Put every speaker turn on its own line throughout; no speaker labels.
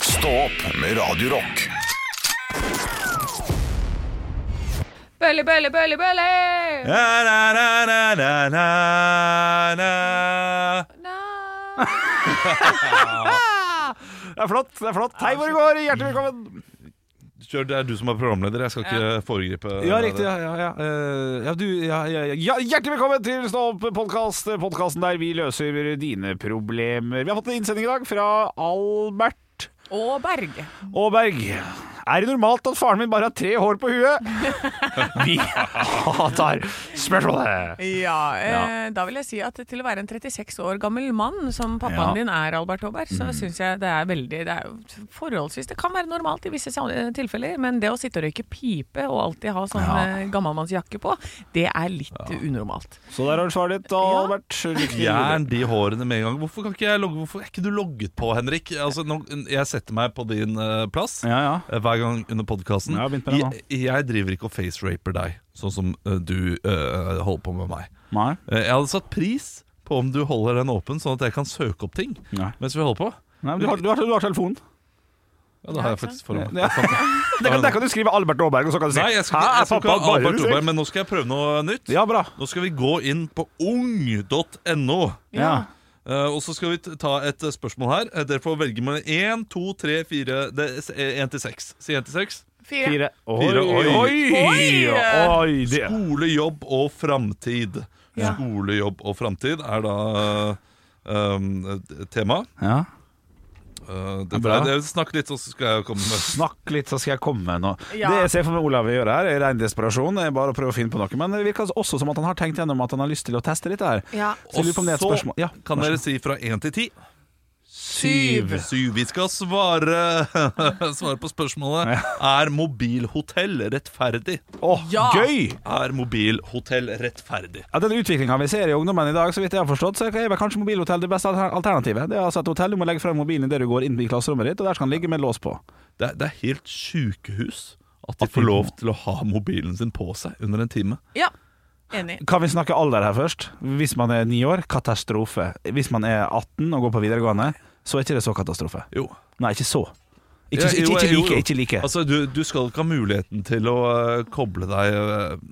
Stå opp med Radio Rock.
Bølle, bølle, bølle, bølle!
Det
Nei.
er flott. det er flott Hei, hvor det går. Hjertelig velkommen.
Kjør, det er du som er programleder. Jeg skal ikke foregripe.
Ja, riktig. Ja, ja, ja. Eh, ja, du, ja, ja, ja. ja Hjertelig velkommen til Stå opp-podkast, podkasten der vi løser dine problemer. Vi har fått en innsending i dag fra Albert
Og Berg.
Aaberg. Er det normalt at faren min bare har tre hår på huet? Vi tar spørsmålet.
Ja, eh, da vil jeg si at til å være en 36 år gammel mann, som
Ja.
pappaen din er, Albert Aaberg, så synes syns jeg det er veldig Det er jo forholdsvis Det kan være normalt i visse sa- tilfeller, men det å sitte og røyke pipe og alltid ha sånn eh, gammelmannsjakke på, det er litt unormalt.
Så der har du svaret ditt,
Ja.
Albert. Lykke til.
Gjern de hårene med en gang. Hvorfor, kan ikke jeg logge, hvorfor er ikke du logget på, Henrik? Altså, nå, jeg setter meg på din eh, plass
Ja, ja.
eh, hver gang under podkasten.
Ja, jeg har begynt med det nå.
jeg, jeg driver ikke og faceraper deg, sånn som eh, du eh, holder på med meg.
Nei.
Eh, jeg hadde satt pris på om du holder den åpen, sånn at jeg kan søke opp ting
Nei.
mens vi holder på.
Nei, men du, har, du, har, du har telefonen.
Ja, det har jeg faktisk foran meg.
Ja. Der kan, der kan du skrive Albert Aaberg, og så kan du si
Nei, jeg skal,
«Hæ,
ikke- jeg skal ikke
pappa,
ha
bare
Albert
du selv?»
Oberg, men nå skal jeg prøve noe nytt.
Ja, bra.
Nå skal vi gå inn på ung.no.
Ja.
Eh, og så skal vi t- ta et eh, spørsmål her. Eh, Dere får velge mellom 1, 2, 3, 4 det, er s- eh, 1 til 6. Si 1 til 6.
Fire.
Fire. Oi,
Fire,
oi,
oi.
oi.
Oi.
det.
Skole, jobb og framtid.
Ja.
Skole, jobb og framtid er da eh, um, tema.
Ja.
Eh, det,
Bra.
det, snakk litt, så skal jeg komme med
Snakk litt, så skal jeg komme med noe.
Ja.
Det jeg ser for meg Olav vil gjøre her, er ren desperasjon. er Bare å prøve å finne på noe. Men det virker også som at han har tenkt gjennom at han har lyst til å teste litt her.
Ja.
Så jeg lurer på om det er et
Og så
spørsmål. Ja,
Kan
vær så
dere
god.
si fra 1 til 10?
Syv.
Syv. Vi skal svare, svare på spørsmålet Er mobilhotell rettferdig?
Åh,
Ja.
gøy!
Er mobilhotell rettferdig?
Ja, den utviklinga vi ser i ungdommen i dag, så vidt jeg har forstått, så er vel kanskje mobilhotell det beste alter- alternativet. Det er altså et hotell du må legge frem mobilen idet du går inn i klasserommet ditt, og der skal den ligge med lås på.
Det er, det er helt sjukehus at de får lov til å ha mobilen sin på seg under en time.
Ja. Enig.
Kan vi snakke alder her først? Hvis man er ni år, katastrofe. Hvis man er 18 og går på videregående, så er ikke det så katastrofe.
Jo.
Nei, ikke så.
Ja,
Ikke,
jo,
ikke, ikke
jo,
like.
jo.
Ikke like.
Altså, du, du skal ikke ha muligheten til å eh, koble deg eh,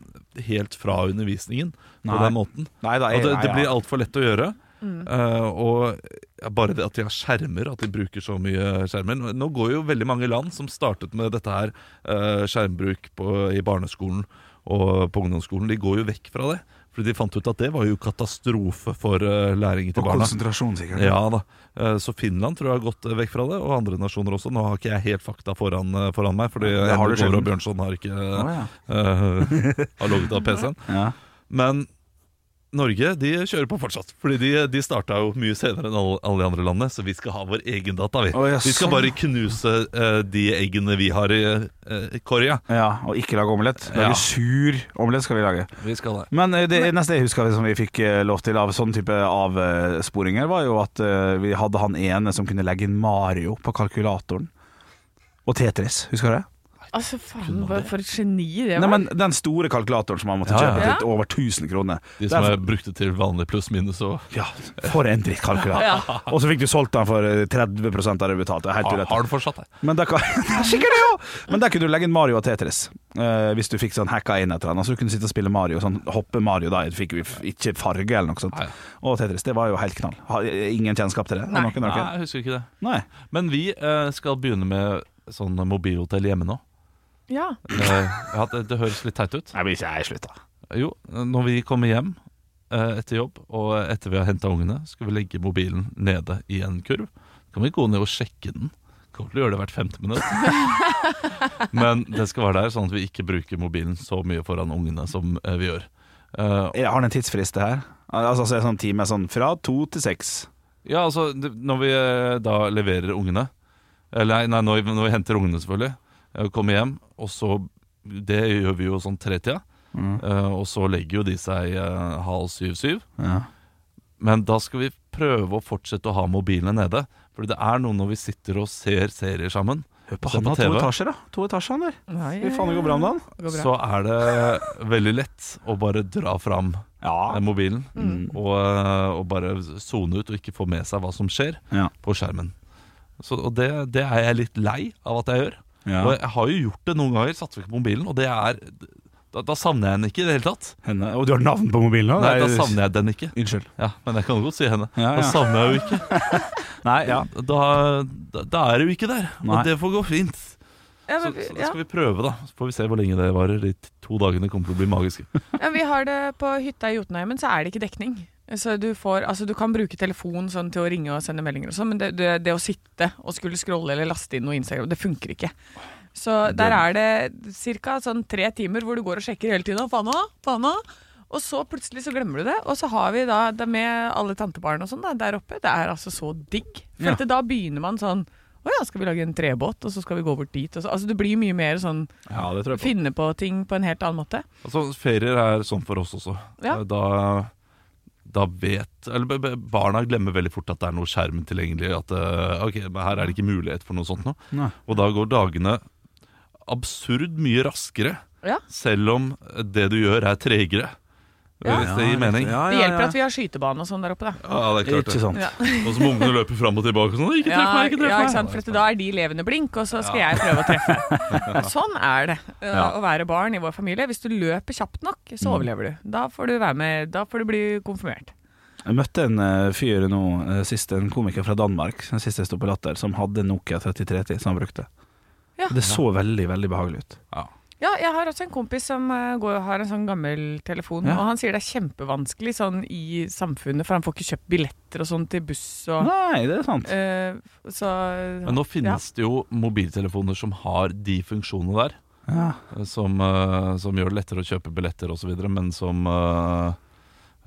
helt fra undervisningen
Nei.
på den måten.
Nei da,
Og det,
nei,
det
ja.
blir altfor lett å gjøre. Eh, og ja, bare det at de har skjermer, at de bruker så mye skjermer. Nå- Nå går jo veldig mange land som startet med dette her, eh, skjermbruk på, i barneskolen og på ungdomsskolen, de går jo vekk fra det. Fordi de fant ut at det var jo katastrofe for eh, læringen til
Og
barna.
konsentrasjon, sikkert.
Ja da. Eh, Så Finland tror jeg har gått eh, vekk fra det, og andre nasjoner også. Nå har ikke jeg helt fakta foran, eh, foran meg, fordi
Det har du
Henrik Over
sjelden.
og Bjørnson har ikke
Å, ja.
eh, har logget av PC-en.
Ja.
Men Norge de kjører på fortsatt. Fordi de, de starta jo mye senere enn alle, alle de andre landene, så vi skal ha vår egen data, vi.
Å, ja,
vi skal
sånn.
bare knuse eh, de eggene vi har i eh, Korea.
ja, og ikke lage omelett.
Ja.
Lage sur omelett skal vi lage.
Vi skal det.
Men eh, det neste jeg husker som vi fikk eh, lov til av sånne type avsporinger, var jo at eh, vi hadde han ene som kunne legge inn Mario på kalkulatoren. Og Tetris, husker du det?
Altså, faen, hva for et geni det
Nei,
var.
men Den store kalkulatoren som man måtte
Ja, ja.
kjøpe
Ja.
til over 1000 kroner.
De
Det er
som er brukte til vanlig pluss-minus og
Ja, for en drittkalkulator.
Ja.
Og så fikk du solgt den for eh, 30 av det du betalte. Helt
har,
urett.
har du fortsatt det?
Men der, kan, sikkert det, ja. Men der kunne du legge inn Mario og Tetris. eh, hvis du fikk sånn hacka inn et eller annet. Så du kunne sitte og spille Mario. Sånn, hoppe Mario da. Du fikk jo ikke farge eller noe sånt.
Nei.
Og Tetris. Det var jo helt knall. Har eh, ingen kjennskap til det? Har noen
Nei,
dere?
jeg husker ikke det.
Nei.
Men vi eh, skal begynne med sånn mobilhotell hjemme nå.
Ja.
Eh, ja, det, det høres litt teit ut.
Nei, men ikke jeg slutta.
Jo, når vi kommer hjem eh, etter jobb, og etter vi har henta ungene, skal vi legge mobilen nede i en kurv. Så kan vi gå ned og sjekke den. Kommer til å gjøre det hvert femte minutt. Men det skal være der, sånn at vi ikke bruker mobilen så mye foran ungene som eh, vi gjør. Eh,
Jeg har den en tidsfrist, det her? Altså, altså sånn time sånn fra to til seks.
Ja, altså, det- når vi eh, da leverer ungene Eller nei, nei når, vi- når vi henter ungene selvfølgelig eh, Kommer hjem, og så Det gjør vi jo sånn tretida
Mm.
eh, Og så legger jo de seg eh, halv syv-syv
Ja.
Men da skal vi prøve å fortsette å ha mobilene nede Fordi det er noe når vi sitter og ser serier sammen
Hør
på
på han
han
har to
TV.
etasjer, da. To etasjer han der.
Nei,
Fy faen, det går bra om dagen.
går bra.
Så er det veldig lett å bare dra fram eh,
Ja.
mobilen
Mm.
og, eh, og bare zone ut og ikke få med seg hva som skjer
Ja.
på skjermen. Så, og det, det er jeg litt lei av at jeg gjør.
Ja.
Og jeg har jo gjort det noen ganger, satser ikke på mobilen, og det er da, da savner jeg den ikke i det hele tatt.
Henne. Og du har navn på mobilen òg?
Nei, da savner jeg den ikke.
Unnskyld.
Ja, Men jeg kan jo godt si henne.
Ja,
Da
ja.
savner jeg jo ikke.
Nei, ja.
Da, da, da er det jo ikke der.
Nei.
Og det får gå fint.
Ja,
Så,
men,
så
ja.
skal vi prøve, da. Så får vi se hvor lenge det varer. De to dagene kommer til å bli magiske.
Ja, vi har det på hytta i Jotunheimen, så er det ikke dekning. Så du, får, altså, du kan bruke telefon sånn, til å ringe og sende meldinger og sånn, men det, det, det å sitte og skulle scrolle eller laste inn noe Instagram, det funker ikke. Så der er det ca. Sånn tre timer hvor du går og sjekker hele tiden. Faen òg, faen òg. Og så plutselig så glemmer du det. Og så har vi da det med alle tantebarn og sånn da, der oppe. Det er altså så digg. For
Ja.
at da begynner man sånn Å ja, skal vi lage en trebåt, og så skal vi gå bort dit? Og så. Altså det blir mye mer sånn
ja, det tror jeg på.
finne på ting på en helt annen måte.
Altså, ferier er sånn for oss også.
Ja.
Da, da vet Eller b- b- barna glemmer veldig fort at det er noe skjerm tilgjengelig. At eh, ok, men her er det ikke mulighet for noe sånt nå.
Nei.
Og da går dagene absurd mye raskere,
Ja.
selv om det du gjør, er tregere.
Ja.
Hvis det gir mening. Ja,
Ah, Ja,
Det hjelper at vi har skytebane og sånn der oppe, da.
det er klart
Ikke
det.
sant.
Ja.
Og så må ungene løpe fram og tilbake og sånn. Ikke treff meg, ikke treff meg.
ja, ikke sant? For at da er de levende blink, og så skal jeg prøve å treffe. Sånn er det eh,
Ja. Mm.
å være barn i vår familie. Hvis du løper kjapt nok, så overlever du. Da får du være med, da får du bli konfirmert.
Jeg møtte en eh, fyr nå eh, sist, en komiker fra Danmark, den siste jeg sto på Latter, som hadde en Nokia 3310 som han brukte.
Ja.
Det så veldig, veldig behagelig ut.
Ja.
Ja, jeg har også en kompis som eh, går, har en sånn gammel telefon,
Ja.
og han sier det er kjempevanskelig sånn i samfunnet, for han får ikke kjøpt billetter og sånn til buss og
Nei, det er sant.
eh, Så
Men nå finnes det jo mobiltelefoner som har de funksjonene der.
Ja.
som, eh, som gjør det lettere å kjøpe billetter osv., men som eh,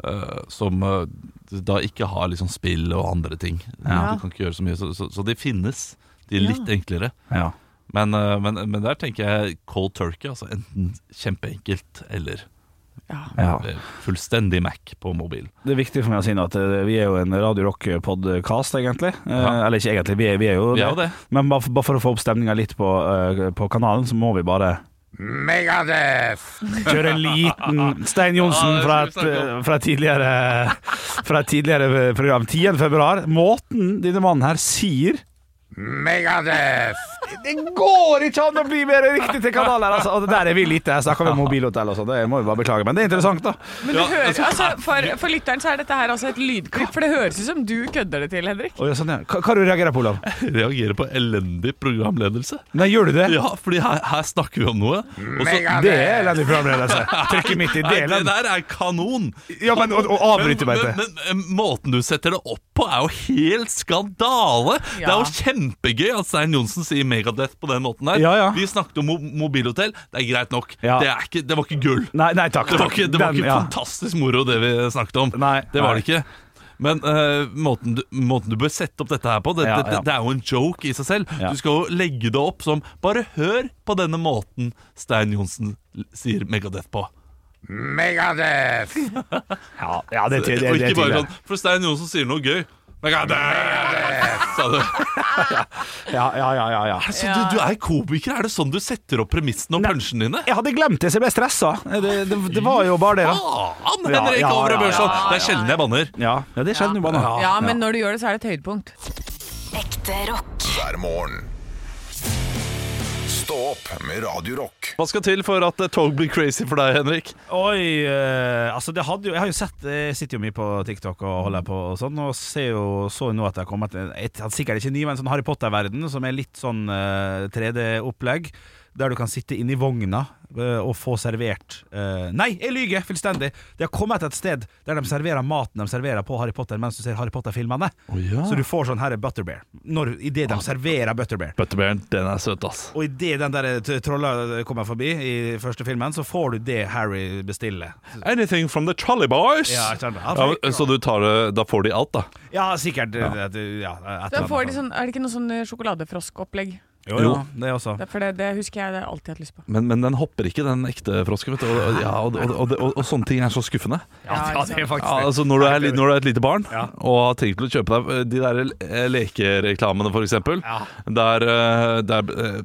eh, Som eh, da ikke har liksom spill og andre ting.
Ja.
Du kan ikke gjøre så mye. Så, så, så de finnes. De er
Ja.
litt enklere.
ja.
Men, eh, men, men der tenker jeg cold turkey. Altså enten kjempeenkelt eller
ja.
ja.
eh, fullstendig Mac på mobil.
Det er viktig for meg å si nå at eh, vi er jo en Radio Rock-podkast, egentlig. Eh,
Ja.
Eller ikke egentlig, vi er, vi er jo
Vi er jo
det.
det.
Men bare for, bare for å få opp stemninga litt på, eh, på kanalen, så må vi bare
Megadeth!
kjøre en liten Stein
Ja,
Johnsen
det
fra
skal
et,
vi snakke
fra et tidligere, fra et tidligere program. 10. februar. Måten denne mannen her sier
Megadeth!
Det går ikke an å bli mer riktig til kanalen her! Altså. Og Der er vi lite. Her snakker vi om mobilhotell og sånn. Det må vi bare beklage. Men det er interessant, da.
Men du hører, altså, for, for lytteren så er dette her altså et lydklipp, for det høres ut som du kødder det til, Henrik.
Oi, sånn, ja. Hva, hva du reagerer du på, Olav?
Reagerer på elendig programledelse.
Nei, gjør du det?
Ja, fordi her, her snakker vi om noe. Og så
Megadeth!
Det er elendig programledelse. Trykket midt i
Nei, det
delen.
der er kanon!
Ja, men og, og avbryter meg
men,
til.
men, men, eh, måten du setter det opp på, er jo helt skandale! Det
Ja.
er jo kjempegøy at Stein Johnsen sier Megadeth på den måten der.
Ja, ja.
Vi snakket om mo mobilhotell, det er greit nok.
Ja.
Det, er ikke, det var ikke gull.
Nei, nei takk.
Det var ikke, det var
Den,
ikke
ja.
fantastisk moro, det vi snakket om.
Nei,
det var
nei.
det ikke. Men eh, måten, du, måten du bør sette opp dette her på, det,
Ja,
det,
ja.
det er jo en joke i seg selv.
Ja.
Du skal jo legge det opp som Bare hør på denne måten Stein Johnsen l- sier Megadeth på.
Megadeth!
Ja, ja, det, det, det,
og
det,
ikke
det,
bare sånn For Stein Johnsen sier noe gøy. Megadeth! Sa du. sånn-
ja, ja, ja, ja, ja.
Altså,
Ja.
du, du er komiker. Er det sånn du setter opp premissene og
Nei.
punchene dine?
Jeg hadde glemt det, så jeg ble stressa. Det, det, det var jo bare det, da.
Faen,
Ja,
Henrik
ja,
Over
ja,
og Børson!
ja, ja,
Det er sjelden jeg banner.
Ja, ja det skjedde jo bare nå.
Ja, men når du gjør det, så er det et høydepunkt.
Ekte rock.
Hver morgen. Stå opp med Radio Rock.
Hva skal til for at eh, tog blir crazy for deg, Henrik?
Oi, eh, altså det hadde jo Jeg har jo sett Jeg sitter jo mye på TikTok og holder på og sånn, og ser jo så jo nå at det har kommet en- et, han er Sikkert ikke ny, men sånn Harry Potter-verden, som er litt sånn 3D-opplegg. Der du kan sitte inni vogna eh, og få servert eh, Nei, jeg lyver fullstendig! Det har kommet et sted der de serverer maten de serverer på Harry Potter mens du ser Harry Potter-filmene. Så du får sånn her er Butterbear Når- Idet de serverer Butterbear.
Butterbjørn, den er søt, ass.
Og idet den der eh, t- trolla kommer forbi i første filmen, så får du det Harry bestiller.
Anything from the trolley boys.
Ja, jeg skjønner.
Ja, men, så du tar det, da får de alt, da?
Ja, sikkert. Ja. Ja, et
Da
eller
får de
annet.
sånn, er det ikke noe sånn eh, sjokoladefroskopplegg?
Jo, jo, det er også.
Det- For det, det husker jeg det har jeg alltid hatt lyst på.
Men, men den hopper ikke, den ekte frosken. Vet du. Og, og- ja, og, og, og, og, og sånne ting er så skuffende.
Ja, det er
Ja, altså når du er, litt- når du er et lite barn og har tenkt til å kjøpe deg eh, de der eh, lekereklamene, f.eks.,
Ja.
der, eh, der eh,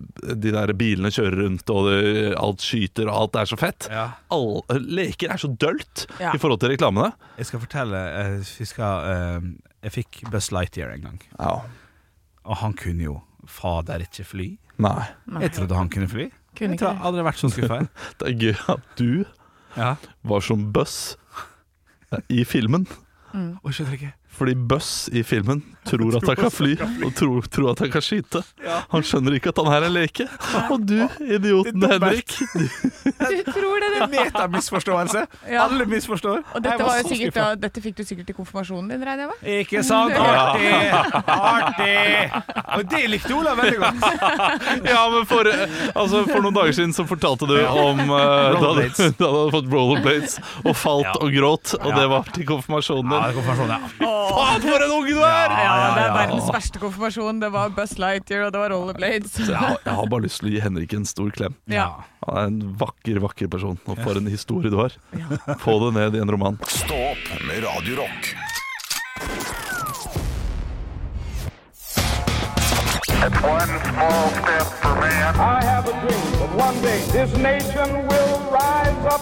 de der bilene kjører rundt og det, alt skyter og alt er så fett
Ja.
All, eh, Leker er så dølt
Ja.
i forhold til reklamene.
eh, Jeg skal fortelle Jeg husker eh, Jeg fikk Buzz Lightyear en gang. Og han kunne jo fader ikke fly.
Nei.
Jeg trodde han kunne fly.
Kunne
jeg tror jeg aldri har vært sånn skuffa.
Det er gøy at du
Ja.
var som Buss i filmen.
Og skjønner ikke
Fordi Buss i filmen tror at han kan fly, og tror, tror at han kan skyte. Han skjønner ikke at han her er leke. Og du, idioten
Det er
Henrik.
Du tror det, det.
Metamisforståelse!
Ja.
Alle misforstår.
Og
Jeg
dette, var jo
så
sikkert,
skuffet.
da- dette fikk du sikkert i konfirmasjonen din, regner jeg med?
Ikke sant? Artig! Artig! Og det likte Olav veldig godt.
Ja, men for, altså, for noen dager siden så fortalte du om eh, da, du,
Rollerblades.
da du hadde fått rollerblades og falt
Ja.
og gråt, og
Ja.
det var til konfirmasjonen din.
konfirmasjon,
Faen, for en unge du er!
Ja, ja,
det er
ja.
verdens verste konfirmasjon. Det var Buzz Lightyear, og det var rollerblades.
Jeg har, jeg har bare lyst til å gi Henrik en stor klem.
Ja.
Han er en vakker, vakker person. Og for en historie du har. Få det ned i en roman.
Stå opp med Radio Rock.
One small step for man. I have a dream that one day this nation will rise up.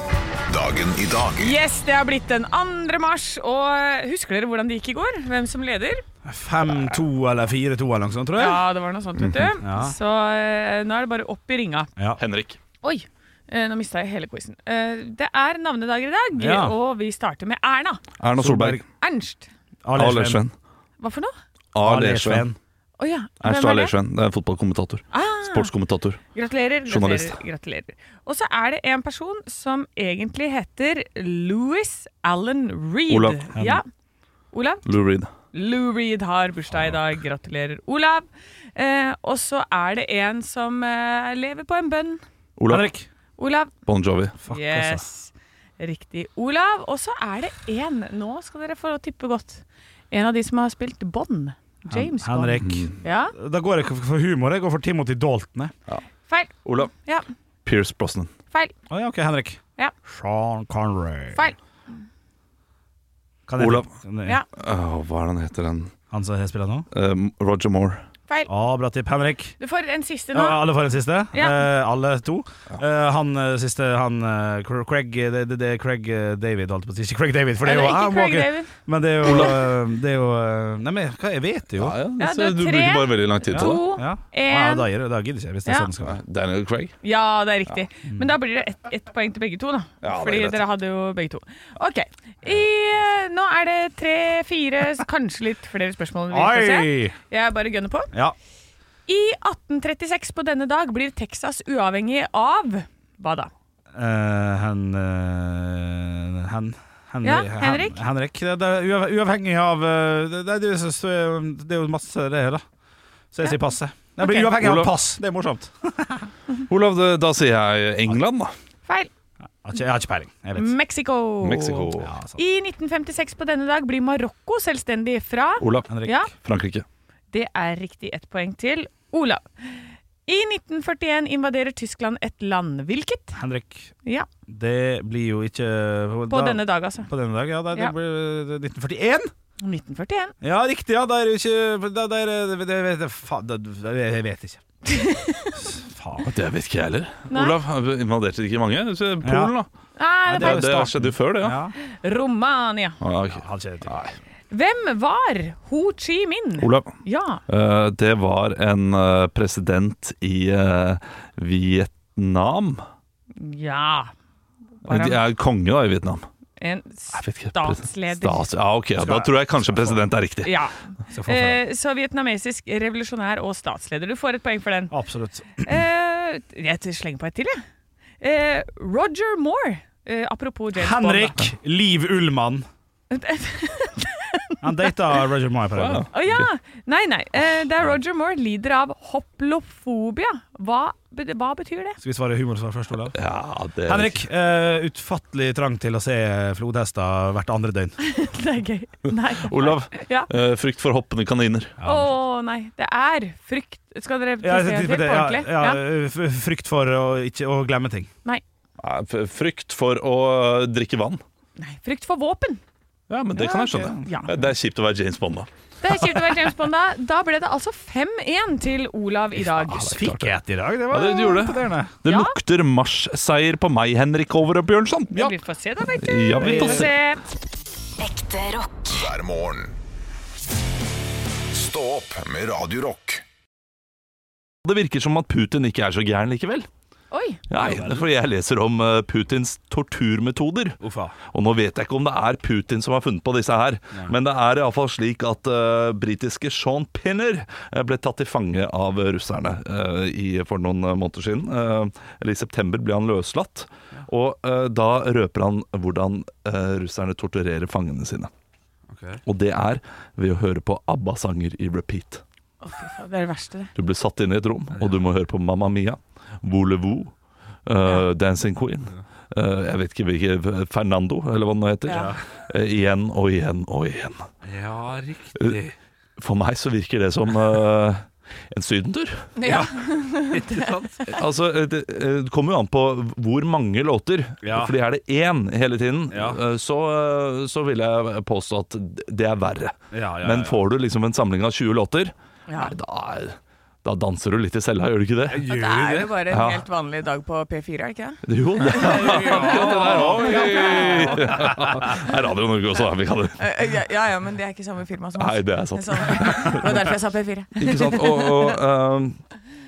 Dagen i dag
Yes, det har blitt den 2. mars, og husker dere hvordan det gikk i går? Hvem som leder?
da. 5-2 eller 4-2 eller noe sånt, tror jeg.
Ja, det var noe sånt, vet du.
Ja.
Så eh, nå er det bare opp i ringa.
Ja.
Henrik.
Oi, eh, nå mista jeg hele quizen. Eh, det er navnedager i dag,
Ja.
og vi starter med Erna.
Erna Solberg.
Ernst.
A. Lersven.
Hva for noe?
A.
A.
Lersven.
Lersven.
Å ja. hvem er
Ernst A.
det? Ah.
Lersven. Det er en fotballkommentator. Sportskommentator.
Gratulerer.
Journalist.
gratulerer, gratulerer. Og så er det en person som egentlig heter Louis Allen Reed.
Olav.
Ja. Olav?
Lou Reed.
Lou Reed har bursdag i dag. Gratulerer, Olav. Eh, og så er det en som eh, lever på en bønn.
Olav.
Henrik.
Olav.
Bon Jovi.
Fuck, altså.
Yes. Riktig, Olav. Og så er det en Nå skal dere få tippe godt. En av de som har spilt Bond. James Bond.
Henrik.
Mm.
Ja,
Da går jeg ikke for humor, jeg går for Timothy Dalton. jeg.
feil.
Olav.
Ja,
Pierce Brosnan.
feil.
Å ja, ok, Henrik.
Ja.
Sean Connery.
Feil.
Kan jeg-
Olav.
Ja,
Åh, hva er det han heter, den?
Han som har spilt nå?
Um, Roger Moore.
feil.
Ja, bra tipp, Henrik.
Du får en siste nå.
Ja, alle får en siste.
Ja.
Eh, alle to. Eh, han eh, siste, han eh, Cr- Craig eh, det, det, det er Craig eh, David, holdt på å si. Ikke Craig David, for det er jo
Eller ikke
han
Craig
walker.
David.
Men det er jo, eh, det er jo eh, Nei, men hva, jeg vet det jo.
Ja,
Ja,
så
det
du
er tre,
bruker bare veldig lang tid
to,
til det.
Ja. Ah,
en.
Ja, da, gir, da gidder jeg ikke, hvis det er
Ja.
sånn det skal være.
Daniel Craig.
Ja, det er riktig.
Mm.
Men da blir det ett ett poeng til begge to, da.
Ja, det er
Fordi
greit.
dere hadde jo begge to. OK. I, nå er det tre-fire, kanskje litt flere spørsmål. Vi får se.
Oi!
Jeg bare gønner på.
Ja.
I 1836 på denne dag blir Texas uavhengig av hva da?
Eh, hen, eh, hen, hen,
Ja,
hen-
Henrik?
Henrik. Det, det er uav- uavhengig av eh, det, det, er jo så- det er jo masse det her, da. Så jeg sier passet. Det
Ok.
blir uavhengig av
Olav.
pass. Det er morsomt.
Olav, det, da sier jeg England, da.
Feil.
Jeg har ikke, jeg har ikke peiling. Jeg vet.
Mexico.
Mexico.
Ja, sant.
I 1956 på denne dag blir Marokko selvstendig fra
Olav.
Henrik.
Ja,
Frankrike.
det er riktig. Ett poeng til Olav. I 1941 invaderer Tyskland et land. Hvilket?
Henrik.
Ja,
Det blir jo ikke
På denne dag, altså.
På denne dag, ja. Da,
Ja.
Det blir 1941.
1941.
Ja, riktig, ja. Da er det jo ikke Da, da er det, det, det, det Faen, da- da- jeg jeg vet ikke. faen.
Det vet ikke jeg heller.
Nei.
Olav invaderte ikke mange. Så Polen, da.
Nei, det
Det,
er
jo
det
starten.
skjedde jo før, det. ja,
Ja.
feil. Romania.
Ah, ok.
Hadde ikke det til.
Hvem var Ho Chi Minh?
Olav,
Ja,
eh, det var en eh, president i eh, Vietnam.
ja. Var
De
han
er konge da i Vietnam.
en
Jeg vet ikke.
Statsleder.
Stats, ja, ok, ja, Da tror jeg kanskje president er riktig.
Ja.
Så faen, faen.
Eh, så vietnamesisk revolusjonær og statsleder. Du får et poeng for den.
Absolutt.
Eh, jeg slenger på et til, jeg. Eh, Roger Moore. Eh, apropos James Bond.
Henrik Liv Ullmann. Han data Roger Moore på
Wow.
det.
Å ja! Nei, nei. Eh, det er Roger Moore. Lider av hoplofobia. Hva, be- hva betyr det?
Skal vi svare humorsvar først, Olav?
Ja, det
Henrik, eh, utfattelig trang til å se flodhester hvert andre døgn.
Det er gøy. Nei.
Olav,
Ja.
eh, frykt for hoppende kaniner.
Å nei, det er frykt Skal dere
Ja,
se
jeg
det
tenkte på
på
det. Ja,
ordentlig?
ja, f- frykt for å, ikke, å glemme ting.
Nei.
Nei, f- Frykt for å eh, drikke vann.
nei. Frykt for våpen.
Ja, men det kan jeg skjønne.
Ja.
Eh, Det er kjipt å være James Bond, da.
Det er kjipt å være James Bond da. Da ble det altså 5-1 til Olav i dag.
altså.
Fikk jeg et i dag? Det var
Ja, det gjorde det.
imponerende.
Det
Ja.
lukter mars-seier på meg, Henrik Over og Bjørnson. Ja.
Vi får se da, vet du.
ja, vi får se.
Ekte rock.
hver morgen. Stå opp med Radio Rock.
Det virker som at Putin ikke er så gæren likevel.
Oi!
Nei, for jeg leser om eh, Putins torturmetoder.
Uffa.
Og nå vet jeg ikke om det er Putin som har funnet på disse her, men det er iallfall slik at eh, britiske Sean Pinner eh, ble tatt til fange av russerne eh, i, for noen eh, måneder siden. Eh, eller i september ble han løslatt, og eh, da røper han hvordan eh, russerne torturerer fangene sine. Og det er ved å høre på ABBA-sanger i repeat.
Å, fy faen, det er det verste, det.
Du blir satt inn i et rom, og du må høre på Mamma Mia, Volevo, Dancing Queen eh, Jeg vet ikke hvilke Fernando, eller hva den heter.
Ja.
Eh, igjen og igjen og igjen.
Ja, riktig.
For meg så virker det som eh, en sydentur.
Ja.
Ikke sant?
Altså, eh, det eh, det kommer jo an på hvor mange låter.
Ja.
Fordi er det én hele tiden,
Ja.
eh, så, eh, så vil jeg påstå at det er verre.
Ja, ja, ja.
Men får du liksom en samling av 20 låter,
Ja.
nei, da, er- da danser du litt i cella, gjør du ikke det?
Gjør
Det er jo bare en
Ja.
helt vanlig dag på P4, er det ikke det?
Jo, det er akkurat det der òg. Det er Radio Norge også, da. Vi kan det.
Eh, Ja, ja, ja, men det er ikke samme firma som oss.
Nei, det er sant.
Sånn. Det var derfor jeg sa P4.
Ikke sant? Og, og ehm,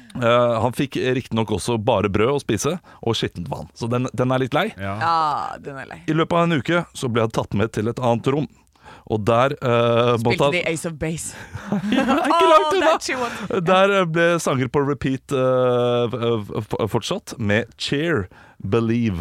eh, han fikk riktignok også bare brød å spise, og skittent vann. Så den, den er litt lei.
Ja.
Ja, den er lei.
I løpet av en uke så ble han tatt med til et annet rom. Og der eh, måtte
Spilte
han
de Ace of Base.
Ikke langt
Å,
unna!
that she wants.
Der eh, ble sanger på repeat eh, f- f- fortsatt med Cheer, Believe.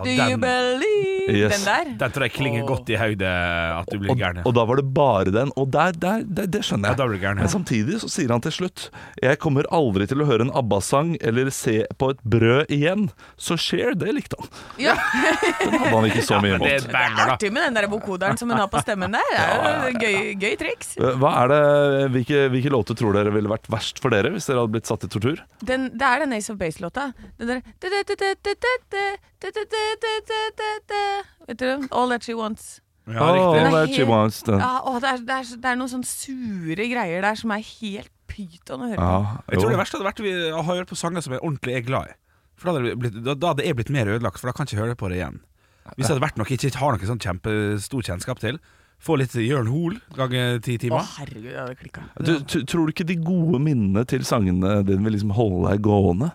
Do you
den,
believe
Yes.
Den der?
den tror jeg klinger godt i hodet, at du blir
Og,
gæren.
og da var det bare den. Og der, der, der, det skjønner
Ja,
jeg.
da blir du gæren, ja.
Men sånn- samtidig så sier han til slutt Jeg kommer aldri til å høre en ABBA-sang eller se på et brød igjen. Så Cher, det likte han.
Ja.
Den hadde han ikke så mye
Det er
imot.
et
Det er
banger, da.
artig med den der vokoderen som hun har på stemmen der. Det er jo gøy, gøy triks.
Eh, Hva er det, hvilke, hvilke låter tror dere ville vært verst for dere hvis dere hadde blitt satt i tortur?
Den, det er den Ace of Base-låta. Den der Vet du? All that she wants.
Ja, riktig.
Åh.
that she wants den.
Ja, å, det, er, det, er, så- det er noen sånne sure greier der som er helt pyton å høre på.
Ja,
Jeg tror det
jo.
verste hadde vært vi har hørt på sanger som jeg ordentlig er glad i. For da hadde, jeg blitt, da, da hadde jeg blitt mer ødelagt, for da kan jeg ikke høre på det igjen. Hvis det hadde vært noe jeg ikke har noe sånn kjempestor kjennskap til, få litt Jørn Hoel ganger ti
Å,
timer.
herregud, ja, det klikka.
du, t- tror du ikke de gode minnene til sangene dine vil liksom holde deg gående?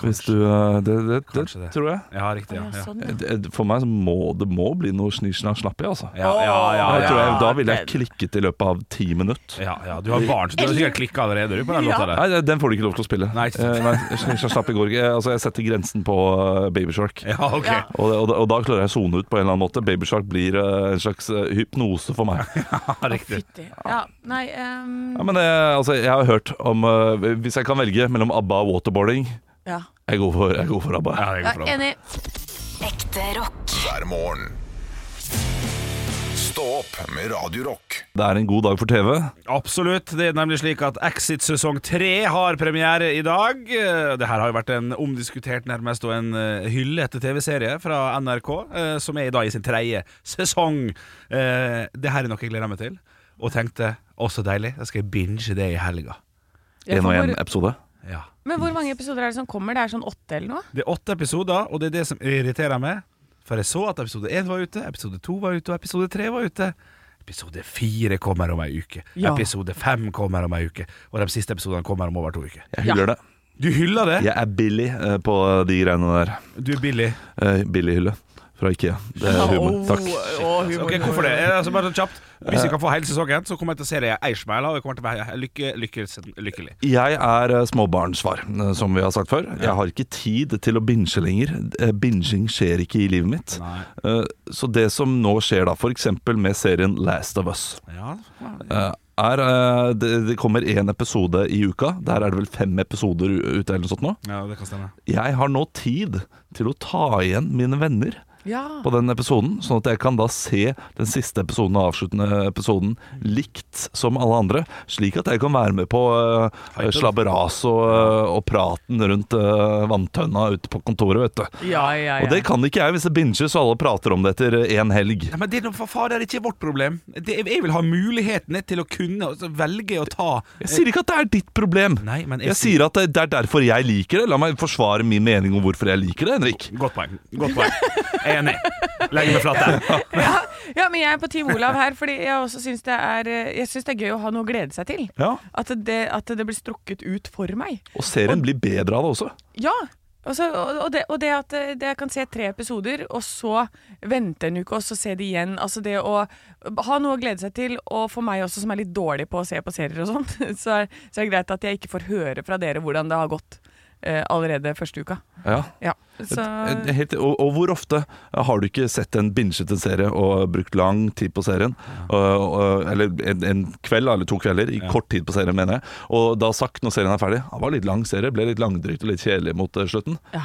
Hvis du, eh, det, det, det,
Kanskje det.
tror jeg.
Ja, riktig.
Å,
Ja, ja.
sånn, ja.
Eh, det- For meg så må det må bli noe snisj-snasj-slappi, altså.
Ja, ja,
Da,
ja, ja,
tror jeg, da ville
den.
jeg klikket i løpet av ti minutter.
ja, ja. Du har barn, så du har sikkert klikka allerede du, på den låta der.
Nei, den får du ikke lov til å spille.
Nei, ikke sant.
Eh, nei, slik som slapp i går. Eh, Altså, jeg setter grensen på eh, Baby Shark.
Ja, ok.
Ja.
Og, og, og da klarer jeg å sone ut på en eller annen måte. Baby Shark blir eh, en slags eh, hypnose for meg.
Ja, riktig.
Fytti. Ja, nei ehm,
Ja, men eh, altså, jeg har hørt om eh, Hvis jeg kan velge mellom ABBA og waterboarding
Ja.
Jeg går for, jeg går for ABBA.
Ja, det
Jeg
går
er
bra.
enig.
Ekte rock.
hver morgen. Stå opp med Radio Rock.
Det er en god dag for TV.
Absolutt. Det er nemlig slik at Exit sesong tre har premiere i dag. Eh, Det her har jo vært en omdiskutert nærmest og en eh, hyllete TV-serie fra NRK, eh, som er i dag i sin tredje sesong. Eh, Det her er noe jeg gleder meg til, og tenkte å, så deilig, da skal jeg binge det i helga.
Ja,
Én
for
og én
hvor-
episode.
Ja.
Men hvor mange episoder er det som kommer? Det er sånn åtte eller noe?
Det er åtte episoder, og det er det som irriterer meg. For jeg så at episode én var ute, episode to var ute, og episode tre var ute. Episode fire kommer om ei uke.
Ja.
Episode fem kommer om ei uke. Og de siste episodene kommer om over to uker.
Jeg hyller det.
Du hyller det!
Jeg er billig eh, på de greiene der.
Du er billig.
Eh, billig hylle fra Ikea. Det er humor.
Å,
Takk.
å, humor.
Ok, Hvorfor det? Eh, Altså, bare sånn kjapt. Hvis jeg kan få hele sesongen, så kommer jeg til å se deg i Eirsmeila, og jeg kommer til å være lykke, lykke, lykkelig.
Jeg er eh, småbarnsfar, eh, som vi har sagt før. Jeg har ikke tid til å binge lenger. Eh, Binging skjer ikke i livet mitt.
Nei.
Eh, Så det som nå skjer, da, f.eks. med serien Last of Us
Ja.
eh, er, eh, det, det kommer én episode i uka. Der er det vel fem episoder u- ute eller noe sånt nå.
ja, det kan stemme.
Jeg har nå tid til å ta igjen mine venner
Ja.
på den episoden, sånn at jeg kan da se den siste episoden og avsluttende episoden likt som alle andre, slik at jeg kan være med på uh,
Hypen.
slabberas og, eh, og praten rundt eh, vanntønna ute på kontoret, vet du.
Ja, ja, ja.
Og det kan ikke jeg hvis det binges og alle prater om det etter én helg.
Nei, men det er noe for fader ikke vårt problem. Det, jeg vil ha mulighetene til å kunne altså, velge å ta eh,
Jeg sier ikke at det er ditt problem.
Nei, men jeg
jeg, sier at det det er derfor jeg liker det. La meg forsvare min mening om hvorfor jeg liker det, Henrik.
Godt poeng. Godt poeng. Enig. Legger meg flat der.
Ja, men jeg er på Team Olav her, fordi jeg også syns det er eh, Jeg synes det er gøy å ha noe å glede seg til.
Ja.
At det, at det blir strukket ut for meg.
Og serien blir bedre av det også.
Ja! Og, så, og, og det, og det at eh, det jeg kan se tre episoder, og så vente en uke, og så se det igjen. Altså det å ha noe å glede seg til, og for meg også som er litt dårlig på å se på serier og sånt, så, er- så er det greit at jeg ikke får høre fra dere hvordan det har gått eh, allerede første uka.
Ja.
Ja, så
Et- et Helt, og, og hvor ofte har du ikke sett en binget en serie og brukt lang tid på serien? Og, og, eller en, en kveld eller to kvelder, i kort tid på serien, mener jeg. Og da sagt, når serien er ferdig "Ah, Det var litt lang serie, ble litt langdrygt og litt kjedelig mot eh, slutten.
Ja.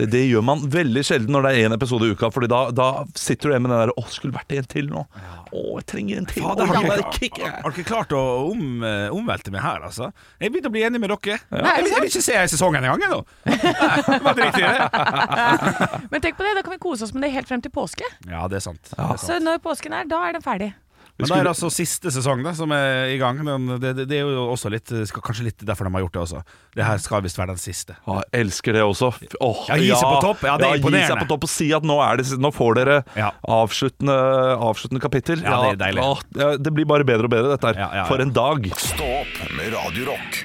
Det, det gjør man veldig sjelden når det er én episode i uka, Fordi da, da sitter du igjen med den der 'Å, skulle vært en til nå'. Å, jeg trenger en til.
Fader,
Å,
har
den
dere
der kick, jeg.
har dere klart å om, eh, omvelte meg her, altså? Jeg begynte å bli enig med dere.
Nei,
Jeg, vil- jeg vil ikke se sesongen engang, jeg nå. Nei, det var dritt i det.
men tenk på det, da kan vi kose oss med det helt frem til påske.
Ja, det er sant. Det er sant.
Så når påsken er, da er den ferdig.
Men da er det altså siste sesong da, som er i gang. Den, det, det, det er jo også litt skal, Kanskje litt derfor de har gjort det også. Det her skal visst være den siste.
Ja, jeg elsker det også. Åh,
Ja, gi seg på topp. Ja, det er
Gi seg
imponerende.
på topp og si at nå, er det, nå får dere
Ja.
avsluttende, avsluttende kapittel.
Ja, det er deilig.
Åh, ja, det blir bare bedre og bedre, dette her.
Ja, ja, ja.
For en dag.
Stå opp med Radio Rock.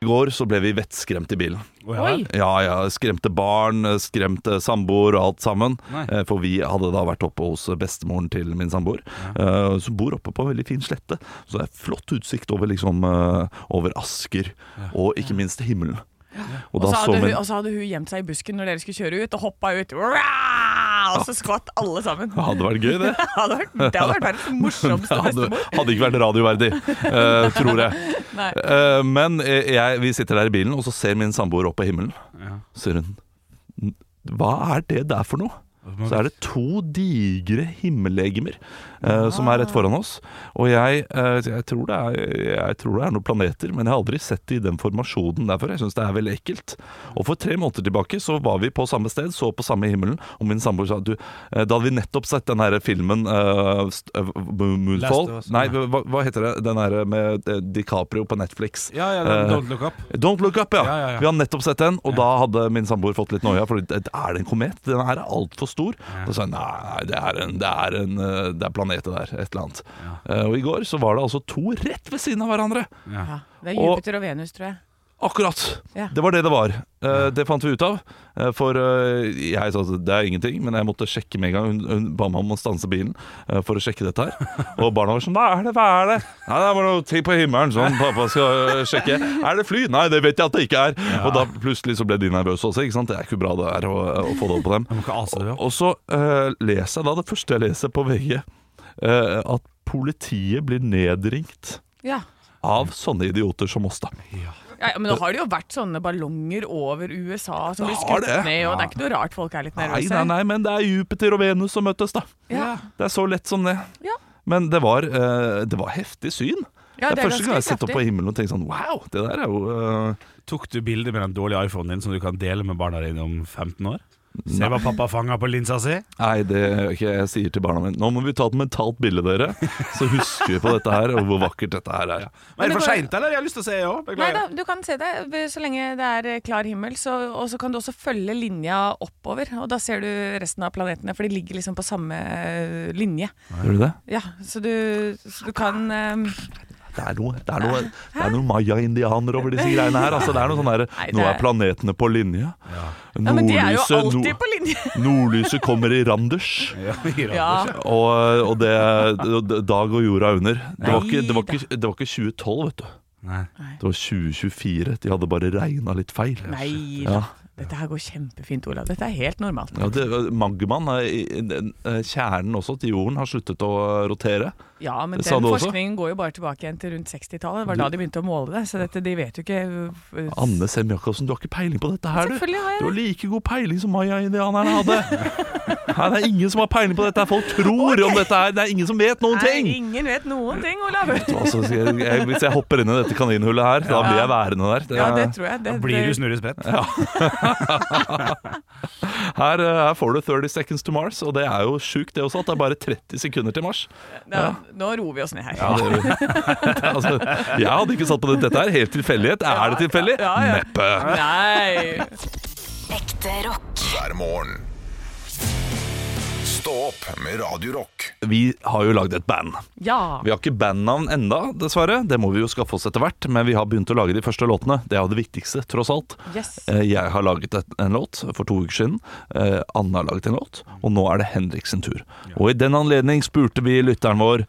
I går så ble vi vettskremt i bilen.
Oi!
Ja, ja, skremte barn, skremte samboer og alt sammen.
Nei.
Eh, For vi hadde da vært oppe hos bestemoren til min samboer, eh, som bor oppe på en veldig fin slette. Så det er flott utsikt over, liksom, eh, over Asker, og ikke minst himmelen.
Og så, hadde hun,
vi-
og så hadde hun gjemt seg i busken når dere skulle kjøre ut, og hoppa ut. Raaah! Og så skvatt alle sammen.
Det hadde vært gøy, det.
Det hadde vært, det hadde vært verdens morsomste
hadde,
bestemor.
hadde ikke vært radioverdig, eh, tror jeg.
Nei.
Eh, men eh, jeg, vi sitter der i bilen, og så ser min samboer opp på himmelen. Så sier hun "N- Hva er det der for noe? Så er det to digre himmellegemer eh, som er rett foran oss. Og jeg, eh, jeg, tror det er, jeg tror det er noen planeter, men jeg har aldri sett det i den formasjonen der før. Jeg syns det er veldig ekkelt. Og for tre måneder tilbake så var vi på samme sted, så på samme himmelen, og min samboer sa du, eh, da hadde vi nettopp sett den her filmen eh, st- eh, Moonfall
Last of Us,
Nei,
nei.
hva, hva heter det? Den her med eh, DiCaprio på Netflix.
Ja, ja, den,
Eh,
don't look up.
Don't Look Up, ja.
Ja, ja, ja.
Vi har nettopp sett den, og da hadde min samboer fått litt noia. For er det en komet? Den her er altfor stor. Da sa jeg nei, nei, det er en, det er en eh, det er planetet der, et eller annet. Eh, Og i går så var det altså to rett ved siden av hverandre.
Ja, det er
Og-
Jupiter og Venus, tror jeg.
Akkurat!
Ja.
Det var det det var. Eh, Det fant vi ut av. Eh, For eh, jeg sa at det er ingenting, men jeg måtte sjekke med en gang. Hun, hun ba meg om å stanse bilen eh, for å sjekke dette her. Og barna var sånn Hva er det? Hva er det? Nei, det er bare noe ting på himmelen som pappa skal eh, sjekke. Er det fly? Nei, det vet jeg at det ikke er. Og da plutselig så ble de nervøse også. ikke sant? Det er ikke bra det er å, å få det opp på dem.
må ikke ase det, ja.
Og så eh, leser jeg da det første jeg leser på VG, eh, at politiet blir nedringt
Ja.
av sånne idioter som oss, da.
Ja, ja, men nå har det jo vært sånne ballonger over USA som blir
Det har det.
skutt ned, og det er ikke noe rart folk er litt
Nei,
nervøse.
nei, nei, men det er Jupiter og Venus som møttes, da.
Ja.
Det er så lett som det.
Ja.
Men det var, eh, det var heftig syn.
Ja,
det
det
er
er
første
ganske
gang jeg har sett opp på
kraftig.
himmelen og tenkt sånn Wow, det der er jo eh,
Tok du bilde med den dårlige iPhonen din som du kan dele med barna dine om 15 år? Se hva pappa fanga på linsa si.
Nei, det gjør jeg ikke jeg sier til barna mine. Nå må vi ta et mentalt bilde, dere. Så husker vi på dette her, og hvor vakkert dette her er.
Men er
Men
det
det
for
går-
seint, eller? Jeg har lyst til å se, jeg òg.
Nei da,
Beklager.
du kan se det ved- så lenge det er eh, klar himmel. Så, og så kan du også følge linja oppover, og da ser du resten av planetene, for de ligger liksom på samme eh, linje.
Gjør du det?
Ja, så du, så du kan eh,
Det er noe, det er noe, det er noe maya-indianere over disse greiene her. Altså, det er noe sånn der
det
Nå er
er-
planetene på linje.
Ja, men de er jo
Nordlyset-
alltid
nord-
på linje!
Nordlyset kommer i randers.
Ja, Mira.
Ja.
Og, og det, d- dag og jorda under. Det var, ikke, det, var
Neida.
ikke, det var ikke 2012, vet du.
Nei.
Det var 2024. De hadde bare regna litt feil.
Nei
Ja.
da. Dette her går kjempefint, Olav. Dette er helt normalt.
Ja, det, Magmaen, eh, i- i- den, eh, kjernen også til jorden, har sluttet å rotere.
Ja, men
Det
den
sa du også?
forskningen går jo bare tilbake igjen til rundt 60-tallet. Det var da de begynte å måle det, så dette, de vet jo ikke øh,
Anne Sem Jacobsen, du har ikke peiling på dette her, du.
Selvfølgelig har jeg
Du har
det.
like god peiling som maya-indianerne hadde. Nei, det er ingen som har peiling på dette. her. Folk tror om dette her. Det er ingen som vet noen
Nei,
ting.
ingen vet noen ting, Olav!
Altså, skal jeg, jeg, hvis jeg hopper inn i dette kaninhullet her, da blir jeg værende der. Det-
Ja, det tror jeg. Det,
Da blir du snurre sprett.
Her, eh, her får du 30 seconds to Mars, og det er jo sjukt det også, at det er bare 30 sekunder til Mars.
ja, nå roer vi oss ned her.
Ja, det er jo- Det er altså, jeg hadde ikke satt på det. Dette er helt tilfeldighet. Er det tilfeldig?
Ja, ja.
Neppe.
Nei!
Ekte rock.
hver morgen. Stå opp med Radio Rock.
Vi har jo lagd et band.
Ja.
Vi har ikke bandnavn enda, dessverre. Det må vi jo skaffe oss etter hvert. Men vi har begynt å lage de første låtene. Det er jo det viktigste, tross alt.
Yes.
Eh, Jeg har laget et- en låt for to uker siden. Eh, Anne har laget en låt. Og nå er det Henrik sin tur. Og i den anledning spurte vi lytteren vår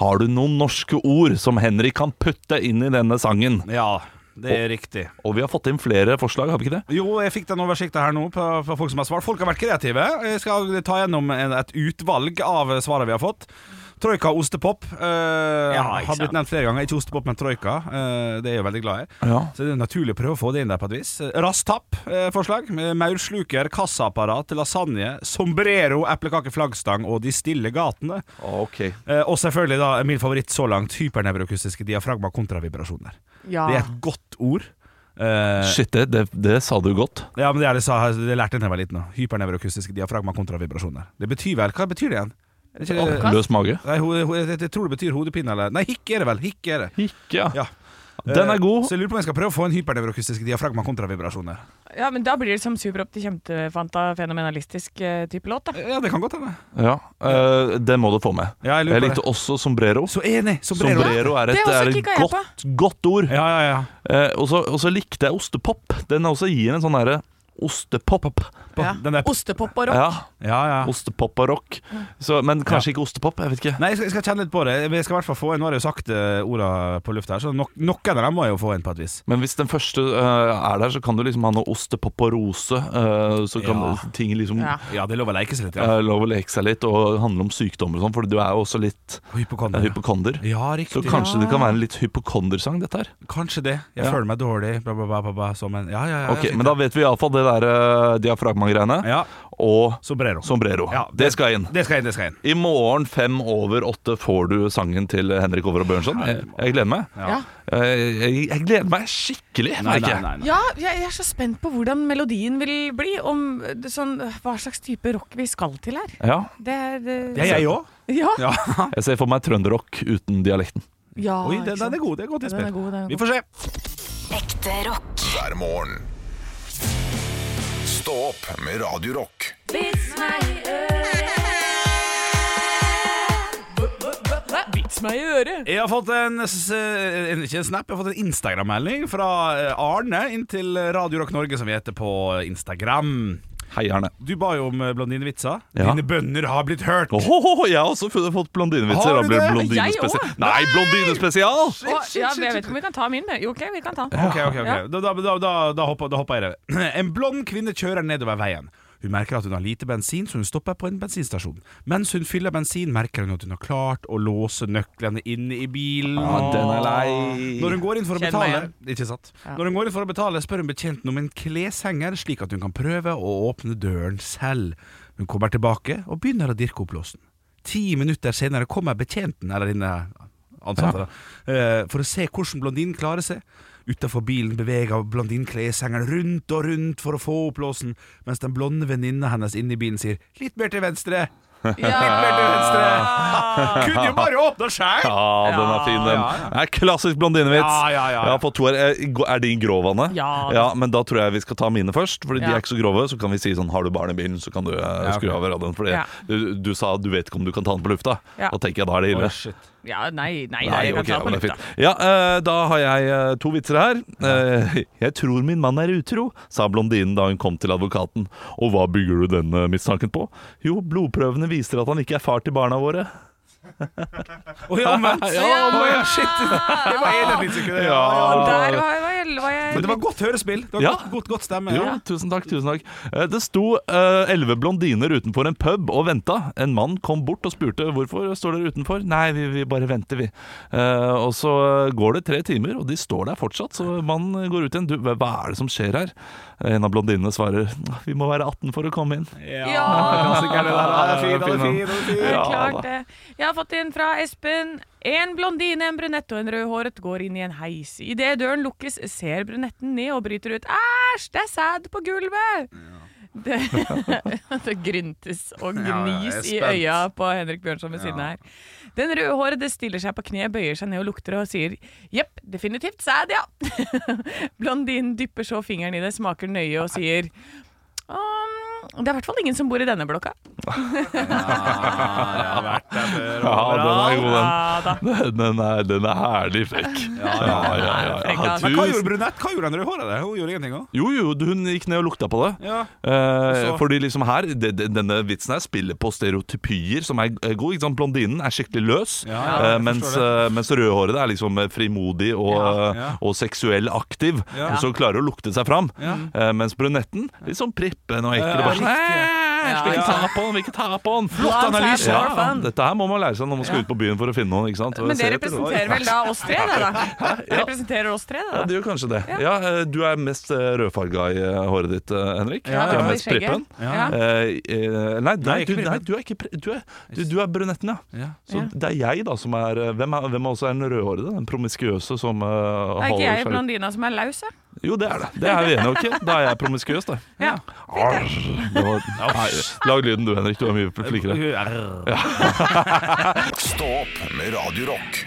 har du noen norske ord som Henrik kan putte inn i denne sangen.
Ja, det er riktig.
Og vi har fått inn flere forslag, har vi ikke det?
Jo, jeg fikk den oversikten her nå på, på folk som har svart. Folk har vært kreative. Jeg skal ta gjennom en, et utvalg av svarene vi har fått. Troika og ostepop eh,
Ja, ikke
har blitt
sant.
nevnt flere ganger. Ikke ostepop, men troika. Eh, det er jeg veldig glad i.
Ja.
Så det er naturlig å prøve å få det inn der på et vis. eh, Rastapp-forslag. Maursluker, kassaapparat, lasagne, sombrero, eplekake, flaggstang og De stille gatene.
Ok.
Eh, og selvfølgelig da min favoritt så langt, hypernevrokustiske diafragma kontravibrasjoner.
ja.
Det er et godt ord. Eh,
Shit, det, det, det sa du godt.
ja, men det er det, jeg sa, det lærte jeg da jeg var liten. nå. Hypernevrokustiske diafragma kontravibrasjoner. Det betyr vel Hva betyr det igjen? Er det ikke det-
Oppkast?
Eh, Løs mage.
Nei, ho, ho, jeg, jeg tror det betyr hodepine eller Nei, hikk er det vel. Hikk er det.
Ikke,
Ja.
Den
Eh,
er god.
Så jeg lurer på om jeg skal prøve å få en hypernevrokustiske diafragma kontravibrasjoner.
ja, men da blir det som superopp til kjempefanta fenomenalistisk eh, type låt, da.
Ja, det kan godt hende.
Ja, eh, det må du få med.
Ja, jeg lurer
Jeg
på
likte
det.
også sombrero.
Så enig! Sombrero.
Sombrero er et,
det også
er et
kikka jeg
godt, godt ord.
Ja, ja, ja.
Eh, og så- og så likte jeg ostepop. Den også gir en sånn derre ostepop.
På,
Ja.
Den der,
Ostepop og rock. Mm.
Ja,
ja, ja.
ostepop og rock. Så, men kanskje ikke ostepop. Jeg vet ikke.
Nei, jeg skal, jeg skal kjenne litt på det. Jeg skal i hvert fall få inn, Nå har jeg jo sagt eh, orda på lufta, her, så nok, noen av dem må jeg jo få inn på et vis.
Men hvis den første eh, er der, så kan du liksom ha noe ostepop og rose. eh, så kan
Ja.
ting liksom
Ja.
Ja, det er lov å leke seg litt.
eh, lov å leke seg litt og handle om sykdommer og sånn, for du er jo også litt eh,
Hypokonder.
hypokonder.
Ja,
Så
riktig.
kanskje det kan være en litt hypokondersang, dette her.
Kanskje det. Jeg
Ja.
føler meg dårlig, bla, bla, bla, bla, bla som en Ja, ja, ja.
Ok, Men da vet vi iallfall det der eh, diafragma-greiene.
Ja,
Og
Sombrero.
sombrero.
Ja,
det, skal inn.
Det skal inn, det skal inn.
I morgen fem over åtte får du sangen til Henrik Over og Bjørnson. Jeg, jeg gleder meg.
Ja.
Ja.
Jeg, jeg, jeg gleder meg skikkelig. merker jeg.
Ja, jeg, jeg er så spent på hvordan melodien vil bli. Om
øh,
eh, det, sånn, hva slags type rock vi skal til her.
Ja,
Det er
øh,
det-
Det er jeg òg.
Ja.
Ja.
jeg ser for meg trønderrock uten dialekten.
Ja,
Oi, den,
ikke
den
sant?
er god. Det er godt
Den er
innspill.
god, den er
Vi
god.
får se.
Ekte rock.
hver morgen. Stå opp med Radio Rock.
Vits meg i øret!
Jeg har fått en, s- eh, en ikke en snap, jeg har fått en Instagram-melding fra eh, Arne inn til Radio Rock Norge, som vi heter på Instagram.
Hei, Erne.
Du ba jo om eh, blondinevitser.
Ja.
Dine bønner har blitt hørt.
Åhåhå, jeg har også funnet- fått blondinevitser.
Har
Da
du
blir det
det?
blondinespesial.
Jeg også.
Nei, blondinespesial!
Å, ja, men jeg vet ikke om vi kan ta min med. Jo, ok, vi kan ta.
Ok, ok, ok Da, da, da, da, da, hopper, da hopper jeg i det. En blond kvinne kjører nedover veien. Hun merker at hun har lite bensin, så hun stopper på en bensinstasjon. Mens hun fyller bensin, merker hun at hun har klart å låse nøklene inne i bilen.
Ja, den er lei.
Når hun går inn for å
Kjenn
betale
meg
Ikke sant?
Ja.
Når hun går inn for å betale, spør hun betjenten om en kleshenger, slik at hun kan prøve å åpne døren selv. Hun kommer tilbake og begynner å dirke opp låsen. Ti minutter senere kommer betjenten eller denne ansatte da, eh, for å se hvordan blondinen klarer seg. Utenfor bilen beveger blondinen kleshengeren rundt og rundt for å få opp låsen, mens den blonde venninna hennes inne i bilen sier 'litt mer til venstre', 'litt mer til venstre'. Kunne jo bare åpna sjæl!
Ja, den er fin, den.
Ja, ja.
Det er klassisk blondinevits.
Ja, ja, ja, ja.
Jeg har fått to her. Eh, Er din grov, Anne?
Ja.
Men da tror jeg vi skal ta mine først. Fordi de
Ja.
er ikke så grove. Så kan vi si sånn Har du barn i bilen, så kan du eh, skru av radioen. Fordi
Ja.
du, du sa du vet ikke om du kan ta den på lufta.
Ja.
Da tenker jeg da er det ille.
Ja, nei, nei, nei, jeg kan
ok,
ta
ja,
på
men det er
lufta.
fint. Ja, eh, da har jeg eh, to vitser her. Eh, jeg tror min mann er utro, sa blondinen da hun kom til advokaten. Og hva bygger du den eh, mistanken på? Jo, blodprøvene viser at han ikke er far til barna våre.
Oi, omvendt!
Ja.
Oi, shit! Det var en et lite sekund. Ja.
Og der var jeg, var jeg, var
Men det
jeg
var godt hørespill. Det var
Ja.
godt, godt, godt stemme.
Jo, tusen takk, tusen takk. Eh, Det sto eh, elleve blondiner utenfor en pub og venta. En mann kom bort og spurte hvorfor står dere utenfor. Nei, vi, vi bare venter, vi. Eh, og så eh, går det tre timer, og de står der fortsatt. Så mannen går ut igjen. Du, hva hva er det som skjer her? En av blondinene svarer vi må være 18 for å komme inn.
Ja,
Klassiker, det der. Ja, det er fint, det er fint, det er fint.
det er
Ja,
klart
da.
det. Jeg har fått inn fra Espen. En blondine, en brunette og en rødhåret går inn i en heis. Idet døren lukkes, ser brunetten ned og bryter ut 'æsj, det er sæd på gulvet'. Det, det gryntes og
Ja, ja, jeg er
gnis i
spent.
øya på Henrik Bjørnson ved siden av her. Den rødhårede stiller seg på kne, bøyer seg ned og lukter og sier 'jepp, definitivt sæd, ja'. Blondinen dypper så fingeren i det, smaker nøye og sier Um, det er i hvert fall ingen som bor i denne blokka.
Jeg har vært der før.
Ja, den er god, den.
Ja da.
Den, den, er, den er herlig frekk. Ja, ja, altså. ja, ja, ja.
Men hva gjorde
Tusen.
brunett? Hva gjorde han rødhåra der? Hun gjorde ingenting òg.
Jo, jo, hun gikk ned og lukta på det.
Ja.
Eh,
Og så-
fordi liksom her, de, de, Denne vitsen her spiller på stereotypier som er eh, god. Ikke sant? Blondinen er skikkelig løs,
Ja, ja,
eh,
jeg
mens,
forstår
eh, mens rødhåret er liksom eh, frimodig og, eh,
Ja, ja.
og seksuell aktiv.
Ja.
Så klarer å lukte seg fram.
Ja.
Eh, mens brunetten litt sånn prippen og ekkel.
Ja,
bare sånn,
riktig.
«Æsj, vi
Ja.
ikke ta på den, vi ikke ta på den!
Blondt er
analyse.
blond,
Ja,
faen.
dette her må man lære seg når man skal ut på byen for å finne noen. Ikke sant? Og
Men det
ser etter-
representerer vel da oss tre, det da? Det representerer oss tre,
Ja,
det
det
da?
gjør kanskje det. Ja. eh, Du er mest eh, rødfarga i eh, håret ditt, eh, Henrik.
Ja,
i
du er
hvert fall i
mest prippen.
skjegget. Ja.
Eh, eh, nei, nei,
Nei, ikke
du, nei,
prippen.
du er ikke pri- du er, du, du er brunetten, ja.
Ja.
Så
Ja.
det er jeg da som er eh, Hvem er, hvem er også er den rødhårede? Den promiskuøse som eh,
Det er
holder
ikke jeg
seg-
blondina som er laus, jeg.
Jo, det er det. Det er vi enige om. ok? Da er jeg promiskuøs, da.
Ja.
Arr, det var, nei, lag lyden du, Henrik. Du er mye flinkere.
Stå opp med Radio Rock.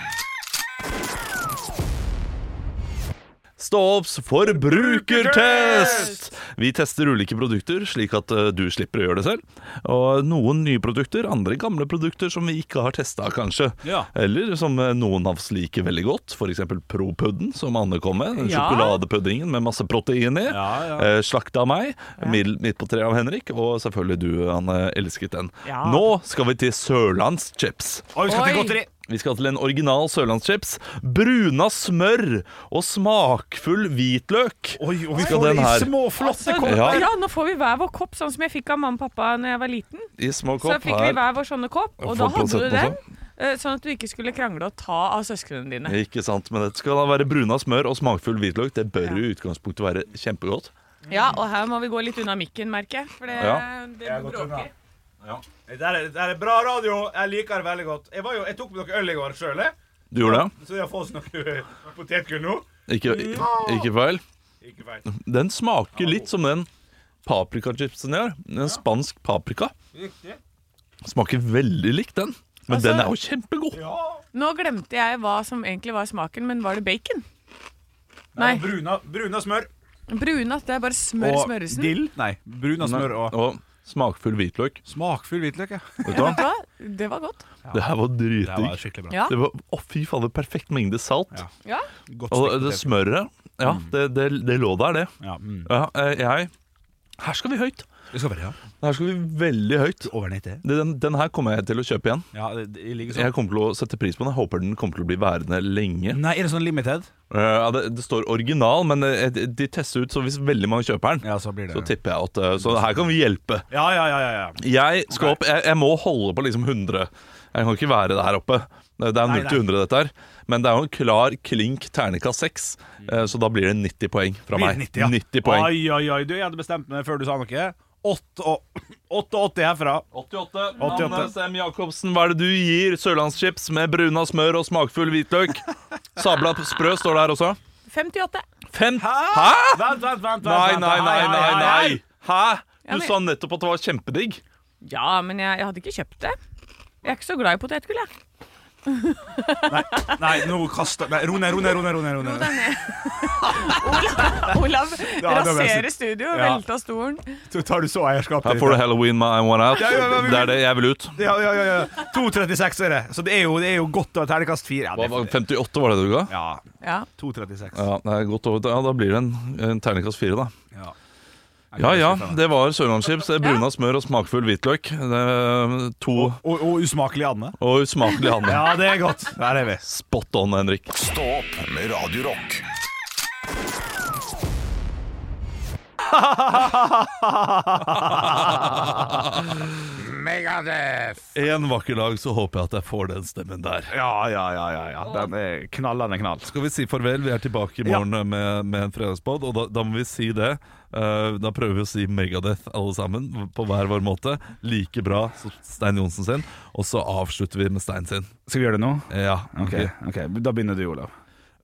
Stås forbrukertest! Vi tester ulike produkter, slik at eh, du slipper å gjøre det selv. Og noen nye produkter, andre gamle produkter som vi ikke har testa, kanskje.
Ja.
Eller som eh, noen av oss liker veldig godt, f.eks. Propudden, som Anne kom med. Den
Ja.
sjokoladepuddingen med masse protein i.
Ja, ja.
Eh, Slakta av meg, middel- midt på treet av Henrik, og selvfølgelig du, Anne, elsket den.
Ja.
Nå skal vi til sørlandschips.
Oi, vi skal til
Oi.
godteri.
Vi skal til en original sørlandschips. Bruna smør og smakfull hvitløk.
Oi, og vi
Skal
får det
den
i
her-
små, flotte
Så,
kopper.
Ja.
ja, nå får vi hver vår kopp, sånn som jeg fikk av mamma og pappa Når jeg var liten.
I små
Så
kopp
fikk vi
her.
hver vår sånne kopp, og da
Får
hadde du
plasetten
den.
også.
eh, Sånn at du ikke skulle krangle og ta av søsknene dine.
Ikke sant, men dette skal da være bruna smør og smakfull hvitløk. Det bør jo i utgangspunktet være kjempegodt.
Ja, og her må vi gå litt unna mikken, merker jeg. For det, eh,
Ja.
det bråker.
Det der er, det der er bra radio. Jeg liker det veldig godt. Jeg, var jo, jeg tok med noe øl i går sjøl,
Du gjorde det?
så jeg har fått oss noe potetgull nå.
Ikke, ikke feil.
Ikke feil.
Den smaker litt som den paprikachipsen jeg har. Den spansk paprika.
Riktig.
Smaker veldig likt den. Men
Altså-
den er jo kjempegod.
Ja.
Nå glemte jeg hva som egentlig var smaken, men var det bacon? Nei,
Bruna, bruna smør.
brunat. Det er bare smør i smørelsen.
dill. Nei, bruna smør og
Og smakfull hvitløk.
smakfull hvitløk. Ja.
Vet du
Ja,
hva?
vet du hva? Det var godt.
Det her var dritdigg.
skikkelig
Ja.
Det var, å fy fader, perfekt mengde salt.
Ja.
Ja.
Godt
Og det smøret, ja,
Mm.
det, det, det lå der, det.
Ja, mm.
Ja, eh, jeg Her skal vi høyt.
Det skal være ja.
Her skal vi veldig høyt.
over 90.
Den, den her kommer jeg til å kjøpe igjen.
Ja, det, det ligger
Jeg
sånn.
kommer til å sette pris på den. Jeg håper den kommer til å bli værende lenge.
Nei, er det sånn limited?
Eh, Ja, det, det står original, men eh, de de tester ut, så hvis veldig mange kjøper den,
Ja, så blir det
så tipper jeg at eh, Så her kan vi hjelpe.
Ja, ja, ja. ja, ja.
Jeg skal opp, jeg, jeg må holde på liksom 100. Jeg kan ikke være der oppe. Det er
Nei,
0 til 100, dette her. Men det er jo en klar klink ternekast 6, så da blir det 90 poeng fra
Mm. Blir
meg.
det 90, ja.
90 poeng.
Oi, oi, oi. Du, jeg hadde bestemt meg før du sa noe. 88 herfra.
88.
88.
Anne Sem Jacobsen, hva er det du gir sørlandschips med bruna smør og smakfull hvitløk? Sabla sprø står der også.
58.
Fem Hæ?
Hæ? Vent, vent, vent. vent,
Nei,
vent.
nei, nei,
Hei,
nei,
hei,
nei.
hei.
Hæ?
Ja,
Du
men-
sa nettopp at det var kjempedigg.
Ja, men jeg, jeg hadde ikke kjøpt det. Jeg er ikke så glad i potetgull, jeg.
Nei, nå kaster Nei, ro ned, ro ned, ro ned, ro ned, ro ned.
Olav
Ja, det var jeg
raserer studio,
Ja.
velta stolen.
Så tar du så eierskap
Her får du Halloween My I Want Out.
Ja, ja, ja, vi-
Det er det jeg vil ut.
Ja, ja, ja, ja. 2,36 er det. Så det er jo, det er jo godt å ha terningkast fire.
Hva, var-
Ja, det-
58 var det du ga?
ja,
Ja.
2,36.
Ja, det er godt over. Ja, da blir det en, en terningkast fire, da.
Ja.
Ja ja, det var sørlandschips. det er Bruna smør og smakfull hvitløk. Det er to
Og, og usmakelig Anne.
og usmakelig Hanne.
Ja, det er godt. Der er vi.
Spot on, Henrik.
Stå opp med Radio Rock.
Megadeth!
En vakker dag så håper jeg at jeg får den stemmen der.
Ja, ja, ja, ja, ja. Den er knallende knall.
Skal vi si farvel? Vi er tilbake i morgen med, med en fredagspod, og da, da må vi si det. Eh, da prøver vi å si Megadeth alle sammen, på hver vår måte. Like bra som Stein Johnsen sin. Og så avslutter vi med Stein sin.
Skal vi gjøre det nå?
Eh, Ja,
Ok, ok, Da begynner du, Olav.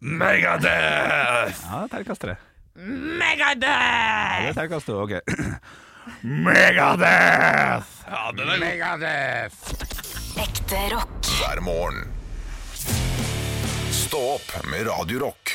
Megadeth!
Ja, terningkast tre.
Megadeth!
Ja, terningkast to, ok. Megadeth!
Ja, den er god.
Ekte rock.
hver morgen. Stå opp med Radio Rock.